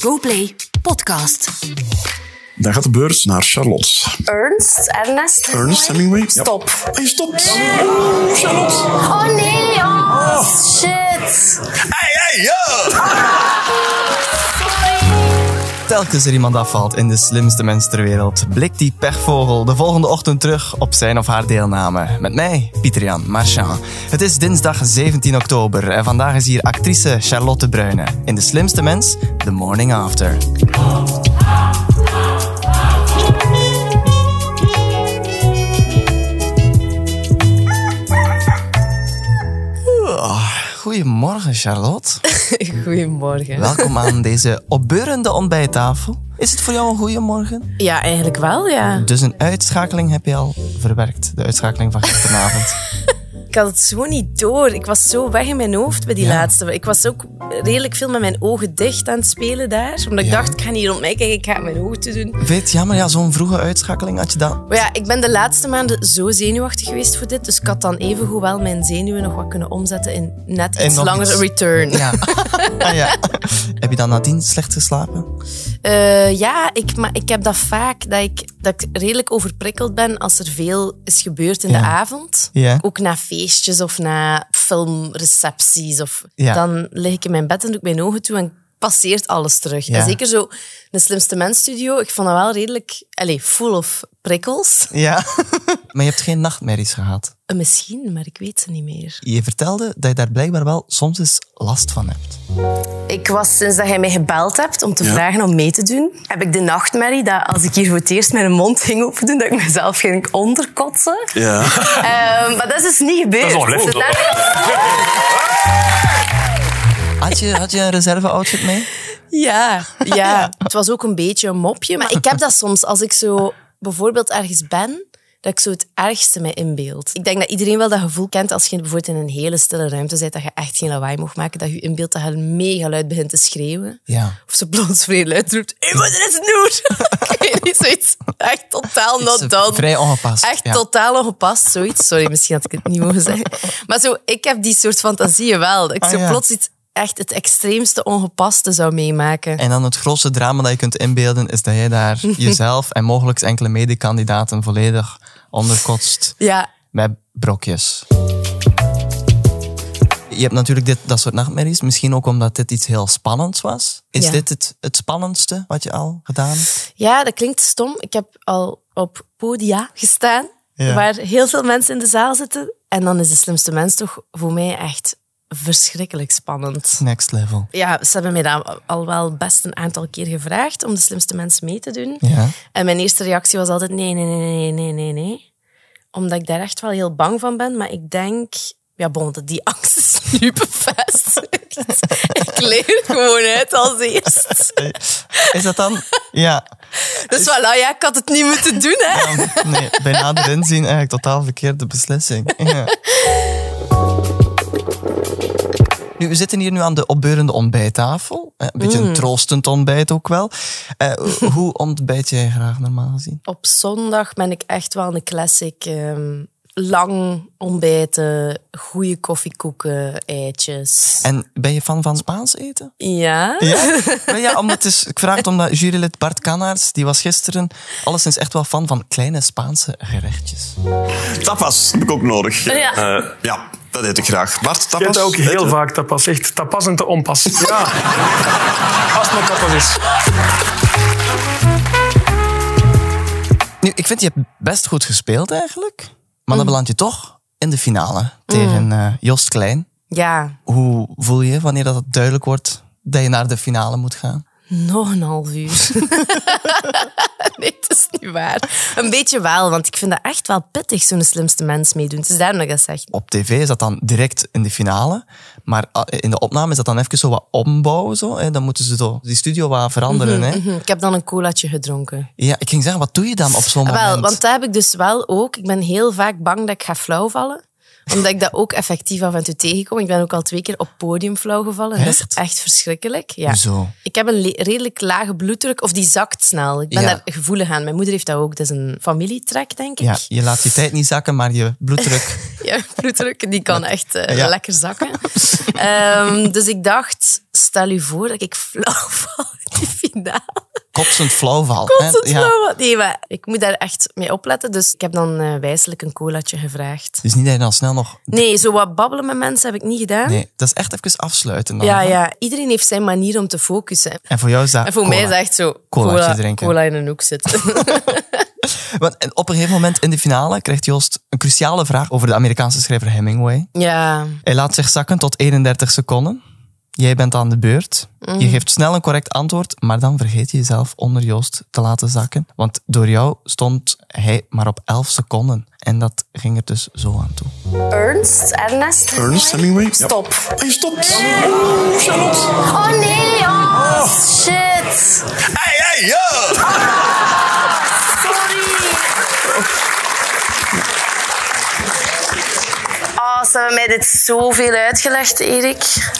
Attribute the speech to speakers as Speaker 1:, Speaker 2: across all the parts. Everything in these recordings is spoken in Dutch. Speaker 1: GoPlay Podcast.
Speaker 2: Dan gaat de beurs naar Charlotte.
Speaker 3: Ernst? Ernest?
Speaker 2: Ernest Hemingway? Ja.
Speaker 3: Stop.
Speaker 2: En je stopt. Oh, Charlotte.
Speaker 3: Oh nee, oh, shit.
Speaker 2: Hey, hey, yo.
Speaker 4: Telkens er iemand afvalt in de slimste mens ter wereld, blikt die pechvogel de volgende ochtend terug op zijn of haar deelname. Met mij, Pieter-Jan Marchand. Het is dinsdag 17 oktober en vandaag is hier actrice Charlotte Bruyne in De Slimste Mens, The Morning After. Oh, Goedemorgen Charlotte.
Speaker 3: Goedemorgen.
Speaker 4: Welkom aan deze opbeurende ontbijttafel. Is het voor jou een goede morgen?
Speaker 3: Ja, eigenlijk wel, ja.
Speaker 4: Dus een uitschakeling heb je al verwerkt. De uitschakeling van gisteravond.
Speaker 3: Ik had het zo niet door. Ik was zo weg in mijn hoofd bij die
Speaker 4: Ja.
Speaker 3: laatste. Ik was ook redelijk veel met mijn ogen dicht aan het spelen daar. Omdat
Speaker 4: Ja.
Speaker 3: ik dacht, ik ga niet rond mij kijken, ik ga mijn ogen toe doen.
Speaker 4: Weet je, jammer, ja, zo'n vroege uitschakeling had je dan.
Speaker 3: Maar ja, ik ben de laatste maanden zo zenuwachtig geweest voor dit. Dus ik had dan evengoed wel mijn zenuwen nog wat kunnen omzetten in net
Speaker 4: En
Speaker 3: iets
Speaker 4: nog
Speaker 3: langere
Speaker 4: iets.
Speaker 3: return.
Speaker 4: Ja. Ah, ja. Heb je dan nadien slecht geslapen?
Speaker 3: Eh, ja, ik, maar ik heb dat vaak, dat ik, dat ik redelijk overprikkeld ben als er veel is gebeurd in de
Speaker 4: Ja.
Speaker 3: avond.
Speaker 4: Ja.
Speaker 3: Ook na feestjes of na filmrecepties. Of,
Speaker 4: Ja.
Speaker 3: Dan lig ik in mijn bed en doe ik mijn ogen toe en passeert alles terug.
Speaker 4: Ja.
Speaker 3: En zeker zo de Slimste Mens studio, ik vond dat wel redelijk allez, full of prikkels.
Speaker 4: Ja. Maar je hebt geen nachtmerries gehad.
Speaker 3: Eh, Misschien, maar ik weet ze niet meer.
Speaker 4: Je vertelde dat je daar blijkbaar wel soms eens last van hebt.
Speaker 3: Ik was sinds dat jij mij gebeld hebt om te vragen om mee te doen, heb ik de nachtmerrie dat als ik hier voor het eerst mijn mond ging opendoen, dat ik mezelf ging onderkotsen.
Speaker 2: Ja.
Speaker 3: Ehm, maar dat is dus niet gebeurd.
Speaker 5: Dat is wel leuk,
Speaker 3: Het
Speaker 5: dat
Speaker 3: net-
Speaker 4: Had je, had je een reserve-outfit mee?
Speaker 3: ja, ja, het was ook een beetje een mopje. Maar ik heb dat soms als ik zo bijvoorbeeld ergens ben, dat ik zo het ergste me inbeeld. Ik denk dat iedereen wel dat gevoel kent als je bijvoorbeeld in een hele stille ruimte zit, dat je echt geen lawaai mag maken, dat je inbeeldt dat je mega luid begint te schreeuwen.
Speaker 4: Ja.
Speaker 3: Of ze plots vrij luid roept, hé, maar er is Noor! ik weet niet, zoiets. Echt totaal
Speaker 4: Is,
Speaker 3: not
Speaker 4: eh,
Speaker 3: done.
Speaker 4: Vrij ongepast.
Speaker 3: Echt
Speaker 4: ja.
Speaker 3: totaal ongepast, zoiets. Sorry, misschien had ik het niet mogen zeggen. Maar zo, ik heb die soort fantasieën wel. Dat ik
Speaker 4: Ah,
Speaker 3: zo
Speaker 4: ja.
Speaker 3: plots iets echt het extreemste ongepaste zou meemaken.
Speaker 4: En dan het grootste drama dat je kunt inbeelden is dat jij daar jezelf en mogelijk enkele medekandidaten volledig onderkotst
Speaker 3: Ja,
Speaker 4: met brokjes. Je hebt natuurlijk dit, dat soort nachtmerries, misschien ook omdat dit iets heel spannends was. Is
Speaker 3: Ja.
Speaker 4: dit het, het spannendste wat je al gedaan hebt?
Speaker 3: ja, dat klinkt stom. Ik heb al op podia gestaan,
Speaker 4: Ja.
Speaker 3: waar heel veel mensen in de zaal zitten. En dan is de slimste mens toch voor mij echt verschrikkelijk spannend.
Speaker 4: Next level.
Speaker 3: Ja, ze hebben mij daar al wel best een aantal keer gevraagd om de slimste mens mee te doen.
Speaker 4: Ja.
Speaker 3: En mijn eerste reactie was altijd nee, nee, nee, nee, nee, nee, nee. Omdat ik daar echt wel heel bang van ben. Maar ik denk, ja, bon, dat die angst is nu bevestigd. ik leer het gewoon uit als eerst.
Speaker 4: Eh, Is dat dan? Ja.
Speaker 3: Dus voilà, ja, ik had het niet moeten doen, hè.
Speaker 4: Nee, bij nader inzien eigenlijk totaal verkeerde beslissing. Ja. Nu, we zitten hier nu aan de opbeurende ontbijttafel. Eh, Een beetje een troostend ontbijt ook wel. Eh, hoe ontbijt jij graag normaal gezien?
Speaker 3: Op zondag ben ik echt wel een classic. ehm, lang ontbijten, goede koffiekoeken, eitjes.
Speaker 4: En ben je fan van Spaans eten?
Speaker 3: Ja?
Speaker 4: Ja, maar ja omdat het is, ik vraag het omdat jurylid Bart Kannaerts, die was gisteren alleszins echt wel fan van kleine Spaanse gerechtjes.
Speaker 2: Tapas heb ik ook nodig.
Speaker 3: Ja.
Speaker 2: Eh, ja, dat eet ik graag. Bart,
Speaker 5: Je
Speaker 2: tapas?
Speaker 5: hebt ook
Speaker 2: Eet
Speaker 5: heel
Speaker 2: je?
Speaker 5: vaak tapas. Echt tapas en te onpas. Ja. Als het maar tapas is.
Speaker 4: Nu, ik vind je hebt best goed gespeeld eigenlijk, maar
Speaker 3: Mm.
Speaker 4: dan beland je toch in de finale tegen eh, Jost Klein.
Speaker 3: Ja,
Speaker 4: Hoe voel je wanneer dat het duidelijk wordt dat je naar de finale moet gaan?
Speaker 3: Nog een half uur. nee, het is niet waar. Een beetje wel, want ik vind dat echt wel pittig, zo'n slimste mens meedoen. Het is daarom dat ik dat zeg.
Speaker 4: Op tv is dat dan direct in de finale, maar ah, in de opname is dat dan even zo wat ombouwen. Zo, hè? Dan moeten ze zo die studio wat veranderen. hè?
Speaker 3: Hm, Ik heb dan een colaatje gedronken.
Speaker 4: Ja, ik ging zeggen, wat doe je dan op zo'n moment?
Speaker 3: Ah, Wel, want dat heb ik dus wel ook. Ik ben heel vaak bang dat ik ga flauwvallen. Omdat ik dat ook effectief af en toe tegenkom. Ik ben ook al twee keer op podium flauw gevallen. En dat is
Speaker 4: Echt?
Speaker 3: echt verschrikkelijk. Ja.
Speaker 4: Hoezo?
Speaker 3: Ik heb een le- redelijk lage bloeddruk, of die zakt snel. Ik ben
Speaker 4: Ja.
Speaker 3: daar gevoelig aan. Mijn moeder heeft dat ook. Dat is een familietrek, denk ik.
Speaker 4: Ja, je laat je tijd niet zakken, maar je bloeddruk.
Speaker 3: Ja, bloeddruk, die kan echt eh,
Speaker 4: Ja.
Speaker 3: lekker zakken. Ehm, dus ik dacht, stel u voor dat ik flauw val in die finale.
Speaker 4: Kopsend flauw valt.
Speaker 3: Kost het
Speaker 4: hè? Ja.
Speaker 3: flauw? Nee, maar ik moet daar echt mee opletten. Dus ik heb dan eh, wijselijk een colaatje gevraagd.
Speaker 4: Dus niet dat je dan snel nog...
Speaker 3: Nee, zo wat babbelen met mensen heb ik niet gedaan.
Speaker 4: Nee, dat is echt even afsluiten. Dan,
Speaker 3: Ja,
Speaker 4: hè?
Speaker 3: ja, iedereen heeft zijn manier om te focussen.
Speaker 4: En voor jou is dat
Speaker 3: En voor mij is
Speaker 4: cola.
Speaker 3: dat echt zo
Speaker 4: Colaatje
Speaker 3: cola,
Speaker 4: drinken.
Speaker 3: cola in een hoek zitten.
Speaker 4: Want en op een gegeven moment in de finale krijgt Joost een cruciale vraag over de Amerikaanse schrijver Hemingway.
Speaker 3: ja,
Speaker 4: Hij laat zich zakken tot 31 seconden. Jij bent aan de beurt.
Speaker 3: Mhm.
Speaker 4: Je geeft snel een correct antwoord, maar dan vergeet je jezelf onder Joost te laten zakken. Want door jou stond hij maar op 11 seconden. En dat ging er dus zo aan toe.
Speaker 6: Ernst? Ernest?
Speaker 2: Ernst Hemingway? Ja.
Speaker 6: Stop.
Speaker 2: Hij stopt. Oeh, Charlotte.
Speaker 6: Oh nee, oh, shit.
Speaker 2: Hey, hey, yo.
Speaker 6: Oh, ze hebben mij dit zoveel uitgelegd, Erik.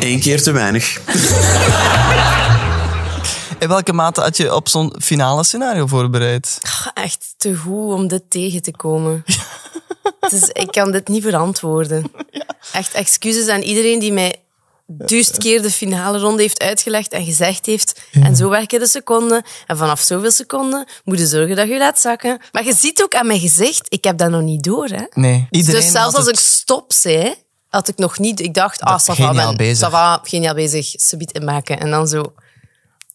Speaker 2: Eén keer te weinig.
Speaker 4: In welke mate had je op zo'n finale scenario voorbereid?
Speaker 3: echt te goed om dit tegen te komen. Dus ik kan dit niet verantwoorden. Echt excuses aan iedereen die mij duizend keer de finale ronde heeft uitgelegd en gezegd heeft. En zo werken de seconden. En vanaf zoveel seconden moet je zorgen dat je je laat zakken. Maar je ziet ook aan mijn gezicht, ik heb dat nog niet door. Hè?
Speaker 4: Nee. Iedereen
Speaker 3: dus zelfs
Speaker 4: had
Speaker 3: als ik
Speaker 4: het-
Speaker 3: stop zei, had ik nog niet... Ik dacht, ah, Safa,
Speaker 4: geniaal
Speaker 3: ben-
Speaker 4: bezig.
Speaker 3: Safa, geniaal bezig, subiet inmaken. En dan zo...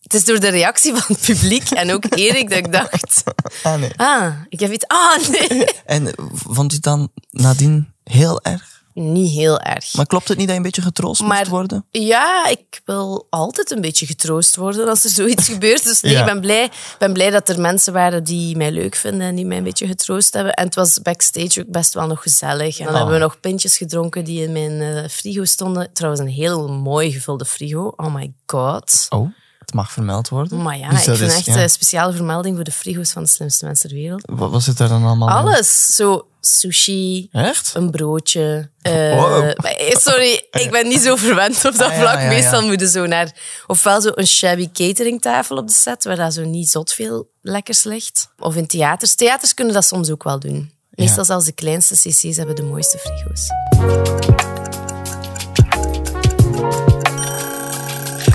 Speaker 3: Het is door de reactie van het publiek en ook Erik dat ik dacht...
Speaker 4: Ah, nee.
Speaker 3: Ah, ik heb iets... Ah, nee.
Speaker 4: En vond je het dan nadien heel erg?
Speaker 3: Niet heel erg.
Speaker 4: Maar klopt het niet dat je een beetje getroost moest worden?
Speaker 3: Ja, ik wil altijd een beetje getroost worden als er zoiets gebeurt. Dus nee,
Speaker 4: Ja.
Speaker 3: ik ben blij, ben blij dat er mensen waren die mij leuk vinden en die mij een beetje getroost hebben. En het was backstage ook best wel nog gezellig. En dan
Speaker 4: Oh.
Speaker 3: hebben we nog pintjes gedronken die in mijn eh, frigo stonden. Trouwens, een heel mooi gevulde frigo. Oh my god.
Speaker 4: Oh, het mag vermeld worden.
Speaker 3: Maar ja,
Speaker 4: Dus
Speaker 3: ik
Speaker 4: dat
Speaker 3: vind
Speaker 4: is-
Speaker 3: echt eh,
Speaker 4: ja.
Speaker 3: een speciale vermelding voor de frigo's van de slimste mensen ter wereld.
Speaker 4: Wat was het daar dan allemaal? in?
Speaker 3: Alles. Zo sushi,
Speaker 4: Echt?
Speaker 3: een broodje. eh,
Speaker 4: Wow.
Speaker 3: maar, eh, Sorry, ik ben niet zo verwend op dat
Speaker 4: Ah, ja,
Speaker 3: vlak.
Speaker 4: ja, ja.
Speaker 3: Meestal moeten zo naar... Ofwel zo een shabby cateringtafel op de set, waar daar zo niet zot veel lekkers ligt. Of in theaters. Theaters kunnen dat soms ook wel doen. Meestal zelfs de kleinste cc's hebben de mooiste frigo's.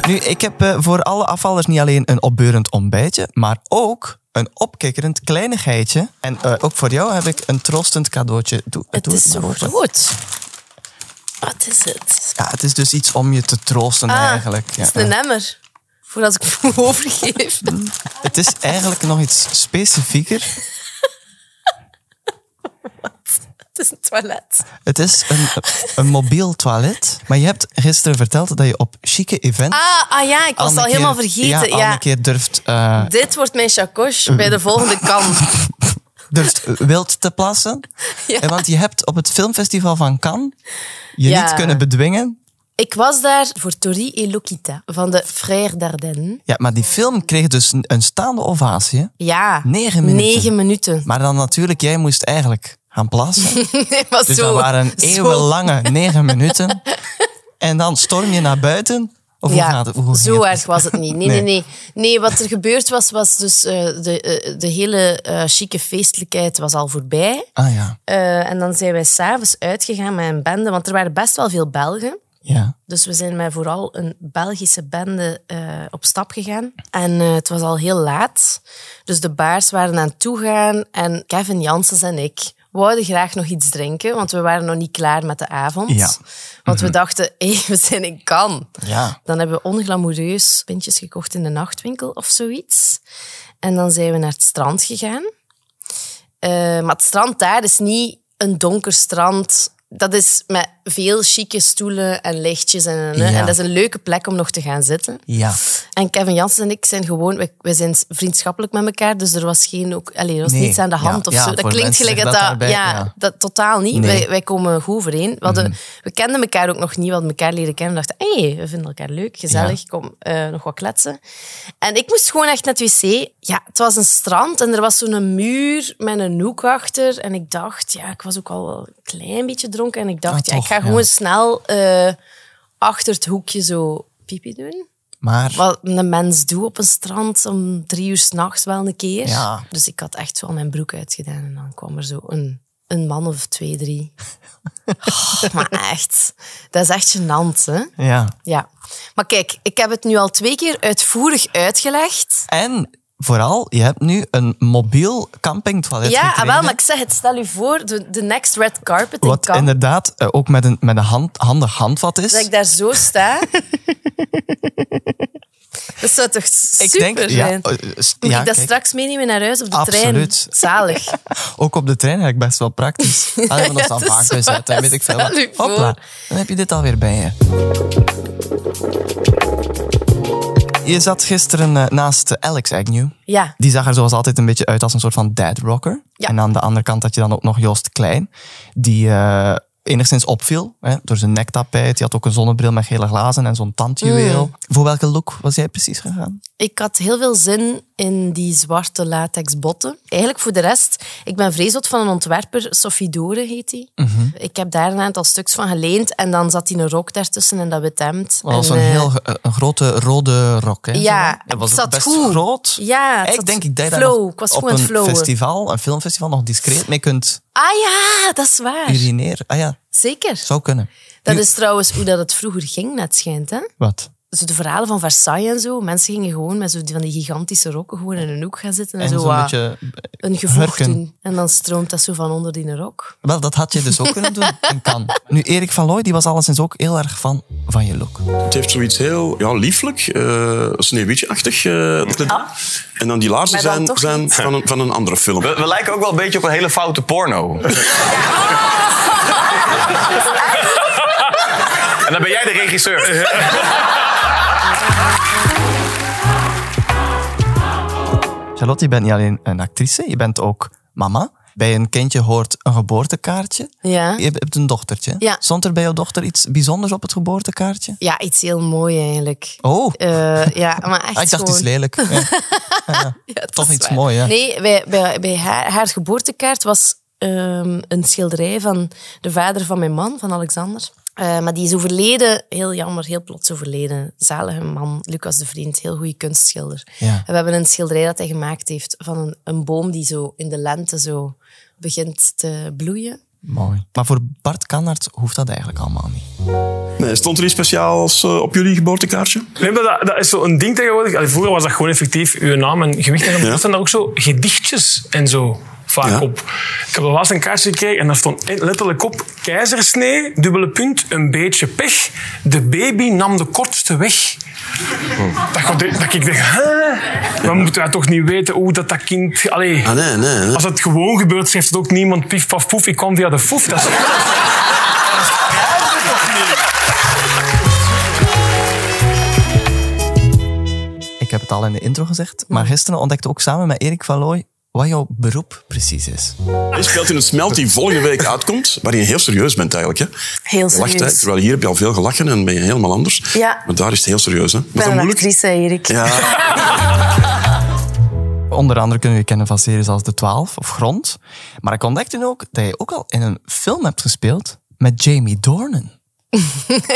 Speaker 4: Nu, ik heb eh, voor alle afvallers niet alleen een opbeurend ontbijtje, maar ook een opkikkerend kleinigheidje. En eh, ook voor jou heb ik een troostend cadeautje. Doe,
Speaker 3: Het
Speaker 4: doe
Speaker 3: is
Speaker 4: het maar
Speaker 3: zo
Speaker 4: open.
Speaker 3: rood. Wat is het?
Speaker 4: Ja, het is dus iets om je te troosten
Speaker 3: Ah,
Speaker 4: eigenlijk. Ja.
Speaker 3: Het is een emmer. Voor als ik me overgeef.
Speaker 4: Het is eigenlijk nog iets specifieker.
Speaker 3: Het is een toilet.
Speaker 4: Het is een, een mobiel toilet. Maar je hebt gisteren verteld dat je op chique events...
Speaker 3: Ah, ah ja, ik
Speaker 4: al
Speaker 3: was het
Speaker 4: een
Speaker 3: al
Speaker 4: keer-
Speaker 3: helemaal
Speaker 4: Ja,
Speaker 3: vergeten.
Speaker 4: al
Speaker 3: Ja,
Speaker 4: een keer durft, eh,
Speaker 3: Dit wordt mijn chacoche bij de volgende kan.
Speaker 4: durft eh, wild te plassen.
Speaker 3: Ja.
Speaker 4: Eh, Want je hebt op het filmfestival van Cannes je
Speaker 3: Ja.
Speaker 4: niet kunnen bedwingen
Speaker 3: Ik was daar voor Tori et Lokita van de Frère Dardenne.
Speaker 4: Ja, maar die film kreeg dus een- een staande ovatie. hè?
Speaker 3: Ja.
Speaker 4: Negen minuten.
Speaker 3: Negen minuten.
Speaker 4: Maar dan natuurlijk, jij moest eigenlijk gaan plassen.
Speaker 3: Nee, maar
Speaker 4: Dus
Speaker 3: zo,
Speaker 4: dat waren
Speaker 3: zo-
Speaker 4: eeuwenlange negen minuten. En dan storm je naar buiten. Of hoe
Speaker 3: Ja,
Speaker 4: gaat het? Hoe ging
Speaker 3: zo
Speaker 4: het?
Speaker 3: erg was het niet. Nee,
Speaker 4: Nee.
Speaker 3: nee, nee. Nee, wat er gebeurd was, was dus eh, de, eh, de hele eh, chique feestelijkheid was al voorbij.
Speaker 4: Ah ja.
Speaker 3: Eh, en dan zijn wij s'avonds uitgegaan met een bende, want er waren best wel veel Belgen.
Speaker 4: ja.
Speaker 3: Dus we zijn met vooral een Belgische bende eh, op stap gegaan. En eh, het was al heel laat. Dus de baars waren aan het toegaan. En Kevin Janssens en ik wouden graag nog iets drinken. Want we waren nog niet klaar met de avond.
Speaker 4: Ja.
Speaker 3: Want we dachten, hé, we zijn in Cannes.
Speaker 4: Ja.
Speaker 3: Dan hebben we onglamoureus pintjes gekocht in de nachtwinkel of zoiets. En dan zijn we naar het strand gegaan. Eh, maar het strand daar is niet een donker strand. Dat is met veel chique stoelen en lichtjes. En, en, en
Speaker 4: Ja.
Speaker 3: dat is een leuke plek om nog te gaan zitten.
Speaker 4: Ja.
Speaker 3: En Kevin Jansen en ik zijn gewoon... Wij, wij zijn vriendschappelijk met elkaar, dus er was, geen, ook, allee, er was
Speaker 4: Nee,
Speaker 3: niets aan de hand
Speaker 4: ja,
Speaker 3: of
Speaker 4: ja,
Speaker 3: zo. Dat
Speaker 4: voor
Speaker 3: klinkt
Speaker 4: mensen
Speaker 3: gelijk dat
Speaker 4: zegt dat
Speaker 3: dat...
Speaker 4: daarbij,
Speaker 3: ja,
Speaker 4: ja.
Speaker 3: Dat, totaal niet.
Speaker 4: Nee. Mhm.
Speaker 3: Wij, wij komen goed overeen. We, hadden, we kenden elkaar ook nog niet. We hadden elkaar leren kennen en dachten... hey, we vinden elkaar leuk, gezellig. Kom, eh, nog wat kletsen. En ik moest gewoon echt naar het wc. Ja, het was een strand en er was zo'n muur met een hoek achter. En ik dacht... Ja, ik was ook al wel een klein beetje dronken. En ik dacht,
Speaker 4: Ah,
Speaker 3: ja, ik
Speaker 4: toch,
Speaker 3: ga
Speaker 4: ja.
Speaker 3: gewoon snel eh, achter het hoekje zo pipi doen
Speaker 4: Maar
Speaker 3: wat een mens doet op een strand om drie uur s'nachts wel een keer.
Speaker 4: Ja.
Speaker 3: Dus ik had echt wel mijn broek uitgedaan en dan kwam er zo een een man of twee, drie. Oh, maar echt, dat is echt gênant, hè?
Speaker 4: Ja.
Speaker 3: Ja. Maar kijk, ik heb het nu al twee keer uitvoerig uitgelegd.
Speaker 4: En vooral, je hebt nu een mobiel campingtoilet
Speaker 3: Ja, ah,
Speaker 4: gekregen.
Speaker 3: wel, maar ik zeg het, stel u voor, de, de next red carpet in
Speaker 4: Wat
Speaker 3: Cannes,
Speaker 4: inderdaad eh, ook met een, met een hand, handig handvat is.
Speaker 3: dat ik daar zo sta. dat zou toch super
Speaker 4: ja,
Speaker 3: zijn?
Speaker 4: eh, s-
Speaker 3: Moet
Speaker 4: ja,
Speaker 3: ik dat
Speaker 4: kijk,
Speaker 3: straks meenemen naar huis op de
Speaker 4: Absoluut.
Speaker 3: trein? Zalig.
Speaker 4: ook op de trein eigenlijk best wel praktisch. Alleen van ons dan
Speaker 3: dat is
Speaker 4: vaak
Speaker 3: waar,
Speaker 4: gezet, hè, weet ik veel. wat.
Speaker 3: stel u voor.
Speaker 4: Hopla, dan heb je dit alweer bij je. Je zat gisteren eh, naast eh, Alex Agnew.
Speaker 3: Ja.
Speaker 4: Die zag er zoals altijd een beetje uit als een soort van dead rocker.
Speaker 3: Ja.
Speaker 4: En aan de andere kant had je dan ook nog Joost Klein, die eh, enigszins opviel hè, door zijn nektapijt. Die had ook een zonnebril met gele glazen en zo'n tandjuweel.
Speaker 3: Mm.
Speaker 4: Voor welke look was jij precies gegaan?
Speaker 3: Ik had heel veel zin in die zwarte latex botten. Eigenlijk voor de rest, ik ben vreesot van een ontwerper, Sophie Dore heet die.
Speaker 4: Mhm.
Speaker 3: Ik heb daar een aantal stuks van geleend en dan zat hij een rok daartussen en dat wit hemd.
Speaker 4: Oh, Dat was
Speaker 3: En,
Speaker 4: een
Speaker 3: eh,
Speaker 4: heel ge- een grote rode rok. Hè,
Speaker 3: Ja,
Speaker 4: zo. dat was
Speaker 3: het
Speaker 4: ook
Speaker 3: zat
Speaker 4: best
Speaker 3: goed.
Speaker 4: groot.
Speaker 3: Ja, het
Speaker 4: ik
Speaker 3: zat
Speaker 4: denk ik dat je daar
Speaker 3: flow.
Speaker 4: nog
Speaker 3: Ik was
Speaker 4: op
Speaker 3: goed aan het
Speaker 4: een
Speaker 3: flowen.
Speaker 4: festival, een filmfestival, nog discreet mee kunt
Speaker 3: Ah ja, dat is waar.
Speaker 4: urineren. Ah ja,
Speaker 3: Zeker.
Speaker 4: zou kunnen.
Speaker 3: Dat
Speaker 4: Nu-
Speaker 3: is trouwens hoe dat het vroeger ging, net schijnt. Hè?
Speaker 4: Wat?
Speaker 3: Zo de verhalen van Versailles en zo. Mensen gingen gewoon met zo die, van die gigantische rokken gewoon in een hoek gaan zitten en,
Speaker 4: En
Speaker 3: zo
Speaker 4: zo'n
Speaker 3: wat
Speaker 4: beetje... eh,
Speaker 3: een gevoeg
Speaker 4: hurken.
Speaker 3: doen. En dan stroomt dat zo van onder die rok.
Speaker 4: Wel, dat had je dus ook kunnen doen en kan. Nu, Erik van Looy, die was alleszins ook heel erg fan van je look.
Speaker 2: Het heeft zoiets heel ja, lieflijk, eh sneeuwwitje-achtig. eh, En dan die laarzen
Speaker 3: Maar dan
Speaker 2: zijn,
Speaker 3: toch
Speaker 2: zijn
Speaker 3: niet.
Speaker 2: van, een, van een andere film.
Speaker 7: We, we lijken ook wel een beetje op een hele foute porno. en dan ben jij de regisseur.
Speaker 4: Charlotte, je bent niet alleen een actrice, je bent ook mama. Bij een kindje hoort een geboortekaartje.
Speaker 3: Ja.
Speaker 4: Je hebt een dochtertje.
Speaker 3: Ja.
Speaker 4: Stond er bij jouw dochter iets bijzonders op het geboortekaartje?
Speaker 3: Ja, iets heel mooi eigenlijk.
Speaker 4: Oh,
Speaker 3: Eh, ja, maar echt
Speaker 4: Ah, ik dacht
Speaker 3: gewoon...
Speaker 4: iets lelijk. Ja.
Speaker 3: Ja, dat
Speaker 4: Toch
Speaker 3: is
Speaker 4: iets
Speaker 3: waar.
Speaker 4: mooi, hè?
Speaker 3: Nee, bij, bij, bij haar, haar geboortekaart was ehm, een schilderij van de vader van mijn man, van Alexander. Eh, maar die is overleden, heel jammer, heel plots overleden. Zalige man, Lucas de Vriend, heel goede kunstschilder.
Speaker 4: Ja.
Speaker 3: En we hebben een schilderij dat hij gemaakt heeft van een, een boom die zo in de lente zo begint te bloeien.
Speaker 4: Mooi. Maar voor Bart Kannert hoeft dat eigenlijk allemaal niet.
Speaker 2: Nee, stond er iets speciaals eh, op jullie geboortekaartje?
Speaker 5: Nee, maar dat, dat is zo'n ding tegenwoordig. Allee, Vroeger was dat gewoon effectief uw naam en gewicht. En
Speaker 2: Ja.
Speaker 5: er staan daar ook zo gedichtjes en zo vaak
Speaker 2: Ja.
Speaker 5: op. Ik heb laatst een kaartje gekregen en daar stond letterlijk op keizersnee, dubbele punt, een beetje pech. De baby nam de kortste weg. Dat, gaat- dat ik denk, hè? Maar moeten wij toch niet weten hoe dat, dat kind... Allee,
Speaker 2: Ah, nee, nee. nee.
Speaker 5: als het gewoon gebeurt, schrijft het ook niemand pief, paf, poef. Ik kwam via de foef. Dat is...
Speaker 4: Ik heb het al in de intro gezegd, maar gisteren ontdekte ook samen met Erik van Looy wat jouw beroep precies is.
Speaker 2: Dit speelt in het smelt die volgende week uitkomt, waar je heel serieus bent eigenlijk. Hè.
Speaker 6: Heel
Speaker 2: Je lacht, hè.
Speaker 6: serieus.
Speaker 2: Terwijl hier heb je al veel gelachen en ben je helemaal anders.
Speaker 6: Ja.
Speaker 2: Maar daar is het heel serieus. Hè. Was
Speaker 6: Ik
Speaker 2: dat
Speaker 6: ben een
Speaker 2: moeilijk?
Speaker 6: actrice, Erik.
Speaker 2: Ja,
Speaker 4: Onder andere kunnen we je kennen van series als De Twaalf of Grond. Maar ik ontdekte nu ook dat je ook al in een film hebt gespeeld met Jamie Dornan.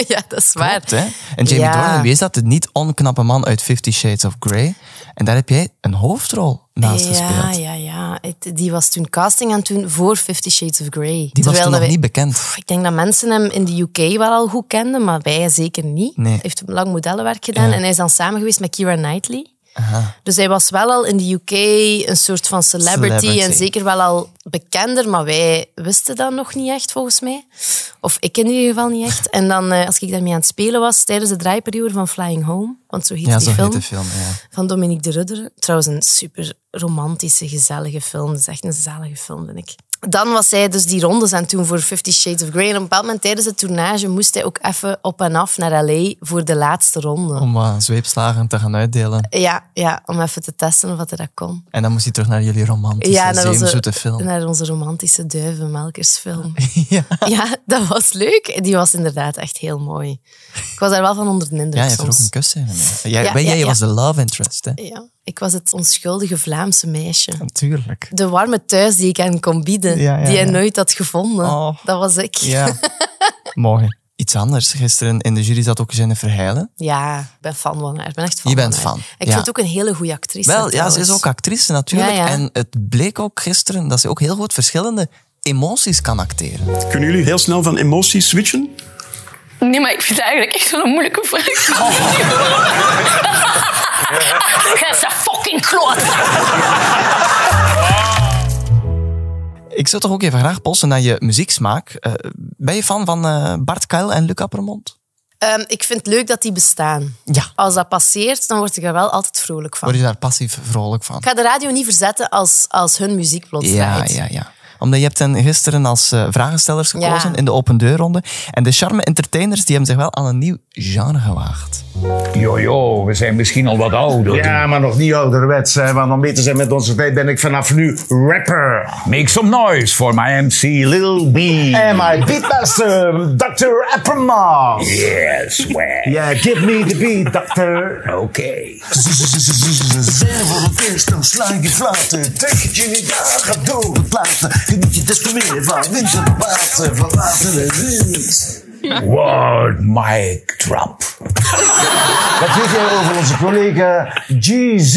Speaker 3: ja, dat is waar.
Speaker 4: Klopt, hè? En Jamie
Speaker 3: Ja.
Speaker 4: Dornan, wie is dat? De niet onknappe man uit Fifty Shades of Grey. En daar heb jij een hoofdrol naast
Speaker 3: ja,
Speaker 4: gespeeld.
Speaker 3: ja, ja. Het- die was toen casting aan het doen voor Fifty Shades of Grey.
Speaker 4: Die was toen nog
Speaker 3: dat wij-
Speaker 4: niet bekend.
Speaker 3: Pff, Ik denk dat mensen hem in de UK wel al goed kenden, maar wij zeker niet.
Speaker 4: Nee.
Speaker 3: Hij heeft lang modellenwerk gedaan en hij is dan samen geweest met Kira Knightley. Dus hij was wel al in de UK een soort van celebrity,
Speaker 4: Celebrity.
Speaker 3: en zeker wel al bekender, maar wij wisten dat nog niet echt volgens mij. Of ik in ieder geval niet echt. En dan, eh, als ik daarmee aan het spelen was, tijdens de draaiperiode van Flying Home, want zo heet
Speaker 4: Ja,
Speaker 3: die
Speaker 4: zo heet
Speaker 3: film
Speaker 4: de film. Ja.
Speaker 3: van Dominique de Rudder. Trouwens, een super romantische, gezellige film. Dat is echt een zalige film, vind ik. Dan was hij dus die rondes aan toen voor Fifty Shades of Grey. En op een bepaald moment tijdens het tournage moest hij ook even op en af naar L.A. voor de laatste ronde.
Speaker 4: Om wat zweepslagen te gaan uitdelen.
Speaker 3: Ja, ja, om even te testen of dat hij dat kon.
Speaker 4: En dan moest hij terug naar jullie romantische,
Speaker 3: Ja,
Speaker 4: zeemzoete film.
Speaker 3: naar onze romantische duivenmelkersfilm.
Speaker 4: ja.
Speaker 3: ja, dat was leuk. Die was inderdaad echt heel mooi. Ik was daar wel van onder de indruk
Speaker 4: Ja, je
Speaker 3: soms.
Speaker 4: vroeg een kus in. Jij,
Speaker 3: Ja,
Speaker 4: ben
Speaker 3: ja,
Speaker 4: jij
Speaker 3: ja.
Speaker 4: was de love interest, hè?
Speaker 3: Ja, ik was het onschuldige Vlaamse meisje.
Speaker 4: Natuurlijk.
Speaker 3: de warme thuis die ik hen kon bieden,
Speaker 4: Ja, ja,
Speaker 3: die hij
Speaker 4: ja.
Speaker 3: nooit had gevonden.
Speaker 4: Oh.
Speaker 3: Dat was ik.
Speaker 4: Ja. Mooi. Iets anders. Gisteren in de jury zat ook Jennifer Heijlen.
Speaker 3: Ja, ik ben fan van haar. Ik ben echt fan
Speaker 4: Je bent
Speaker 3: van haar.
Speaker 4: fan, ja.
Speaker 3: Ik vind het ook een hele goede actrice.
Speaker 4: Wel, ja, ze is
Speaker 3: trouwens.
Speaker 4: ook actrice natuurlijk.
Speaker 3: Ja, ja.
Speaker 4: En het bleek ook gisteren dat ze ook heel goed verschillende emoties kan acteren?
Speaker 2: Kunnen jullie heel snel van emoties switchen?
Speaker 8: Nee, maar ik vind het eigenlijk echt wel een moeilijke vraag.
Speaker 2: Oh.
Speaker 8: Dat is een fucking kloot.
Speaker 4: Ik zou toch ook even graag polsen naar je muzieksmaak. Eh, ben je fan van eh, Bart Kuil en Luc Appermond?
Speaker 3: Ehm, ik vind het leuk dat die bestaan.
Speaker 4: Ja.
Speaker 3: Als dat passeert, dan word ik er wel altijd vrolijk van.
Speaker 4: Word je daar passief vrolijk van?
Speaker 3: Ik ga de radio niet verzetten als, als hun muziek plots
Speaker 4: Ja,
Speaker 3: draait.
Speaker 4: ja, ja. Omdat je hebt hen gisteren als eh, vragenstellers gekozen
Speaker 3: Ja.
Speaker 4: in de open deurronde. En de charme entertainers die hebben zich wel aan een nieuw genre gewaagd.
Speaker 9: Jojo, we zijn misschien al wat ouder.
Speaker 10: Ja, maar nog niet ouderwets. Hè, want om mee te zijn met onze tijd ben ik vanaf nu rapper.
Speaker 9: Make some noise for my MC Lil B.
Speaker 10: En my beatmaster, Dr. Appermas.
Speaker 9: Yes, swag.
Speaker 10: Yeah, give me the beat, doctor.
Speaker 9: Oké.
Speaker 10: Zijn voor het eerst, dan sla je flaten. Trek het je niet aan, ga door het laten. Geniet je des te meer van winter en water, van later en wind.
Speaker 9: Word mic drop.
Speaker 10: Wat vind jij over onze collega GZ?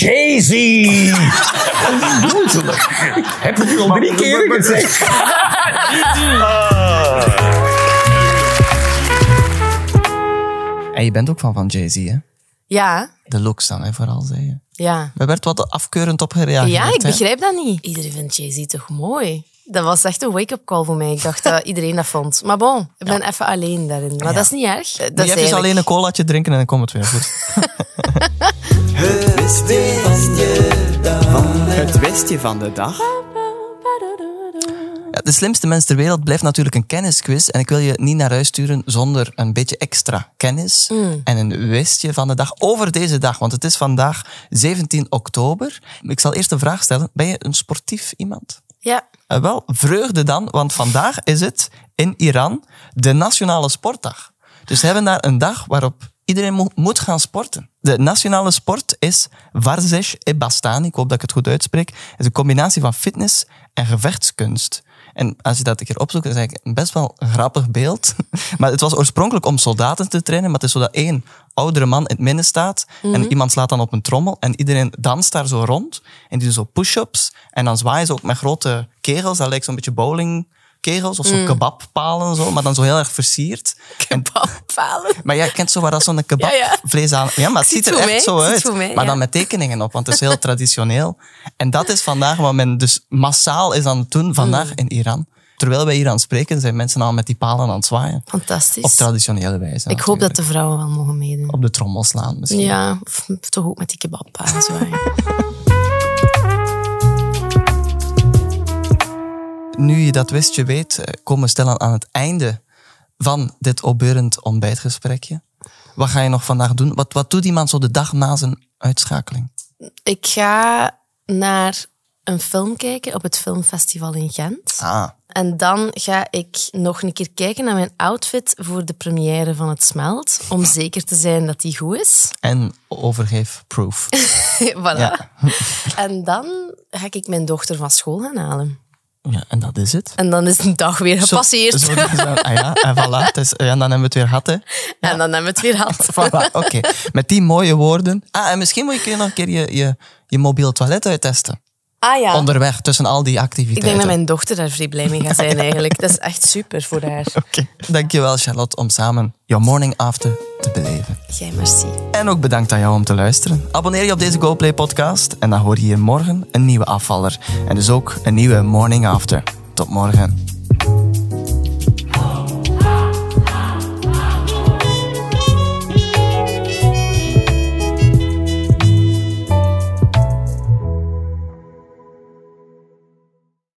Speaker 9: Jay-Z. Heb je het al drie keer gezegd?
Speaker 4: En je bent ook fan van Jay-Z, hè?
Speaker 3: Ja,
Speaker 4: De looks dan, hè, vooral, zei je.
Speaker 3: ja.
Speaker 4: Er werd wat afkeurend op gereageerd.
Speaker 3: Ja, ik
Speaker 4: hè?
Speaker 3: begrijp dat niet. Iedereen vindt Jay-Z toch mooi? Dat was echt een wake-up call voor mij. Ik dacht dat iedereen dat vond. Maar bon, ik ben even alleen daarin. Maar dat is niet erg. Eh,
Speaker 4: Moet
Speaker 3: Dat
Speaker 4: je
Speaker 3: is
Speaker 4: even
Speaker 3: eigenlijk-
Speaker 4: dus alleen een colaatje drinken en dan komt het weer goed. Het wistje van de dag. Ja, de slimste mens ter wereld blijft natuurlijk een kennisquiz. En ik wil je niet naar huis sturen zonder een beetje extra kennis.
Speaker 3: Mm.
Speaker 4: En een wistje van de dag over deze dag. Want het is vandaag 17 oktober. Ik zal eerst een vraag stellen. Ben je een sportief iemand?
Speaker 3: Ja.
Speaker 4: Eh, wel, vreugde dan, want vandaag is het in Iran de nationale sportdag. Dus ze hebben daar een dag waarop iedereen mo- moet gaan sporten. De nationale sport is Varzesh Ebastani, ik hoop dat ik het goed uitspreek. Het is een combinatie van fitness en gevechtskunst. En als je dat een keer opzoekt, is het eigenlijk een best wel grappig beeld. Maar het was oorspronkelijk om soldaten te trainen, maar het is zo dat één oudere man in het midden staat en iemand slaat dan op een trommel en iedereen danst daar zo rond en die doen zo push-ups en dan zwaaien ze ook met grote kegels, dat lijkt zo'n beetje bowlingkegels of zo'n kebabpalen en zo, maar dan zo heel erg versierd. En-
Speaker 3: Papalen.
Speaker 4: maar ja, kent zo waar dat zo'n
Speaker 3: Ja, ja.
Speaker 4: kebabvlees aan... Ja, maar het
Speaker 3: Ik zie
Speaker 4: ziet er
Speaker 3: het
Speaker 4: echt
Speaker 3: voor mij,
Speaker 4: zo
Speaker 3: ik zie het
Speaker 4: uit.
Speaker 3: voor mij,
Speaker 4: maar
Speaker 3: ja.
Speaker 4: dan met tekeningen op, want het is heel traditioneel. En dat is vandaag wat men dus massaal is aan het doen, vandaag
Speaker 3: Mm.
Speaker 4: in Iran. Terwijl wij hier aan het spreken zijn mensen al met die palen aan het zwaaien.
Speaker 3: Fantastisch.
Speaker 4: Op traditionele wijze
Speaker 3: ik hoop dat
Speaker 4: natuurlijk.
Speaker 3: de vrouwen wel mogen meedoen.
Speaker 4: Op de trommel slaan misschien.
Speaker 3: Ja, of toch ook met die kebabpalen. zo, hè.
Speaker 4: Nu je dat wist, je weet, eh, komen we stilaan aan het einde van dit opbeurend ontbijtgesprekje. Wat ga je nog vandaag doen? Wat, wat doet iemand zo de dag na zijn uitschakeling?
Speaker 3: Ik ga naar een film kijken op het filmfestival in Gent.
Speaker 4: Ah,
Speaker 3: En dan ga ik nog een keer kijken naar mijn outfit voor de première van Het Smelt. Om zeker te zijn dat die goed is.
Speaker 4: en overgeef proof.
Speaker 3: voilà.
Speaker 4: Ja.
Speaker 3: En dan ga ik mijn dochter van school gaan halen.
Speaker 4: Ja, en dat is het.
Speaker 3: En dan is de dag weer
Speaker 4: Zo-
Speaker 3: gepasseerd.
Speaker 4: zo- zo- ah ja, en voilà. Het is, ja, en dan hebben we het weer gehad, hè.
Speaker 3: En dan hebben we het weer gehad.
Speaker 4: Voilà, oké. Met die mooie woorden. Ah, en misschien moet je nog een keer je, je, je mobiel toilet uittesten.
Speaker 3: Ah ja.
Speaker 4: Onderweg, tussen al die
Speaker 3: ik
Speaker 4: activiteiten.
Speaker 3: denk dat mijn dochter daar vrij blij mee gaat zijn eigenlijk. Dat is echt super voor haar.
Speaker 4: Dankjewel, Charlotte, om samen jouw morning after te beleven.
Speaker 3: Jij merci.
Speaker 4: En ook bedankt aan jou om te luisteren. Abonneer je op deze GoPlay podcast en dan hoor je hier morgen een nieuwe afvaller. En dus ook een nieuwe morning after. Tot morgen.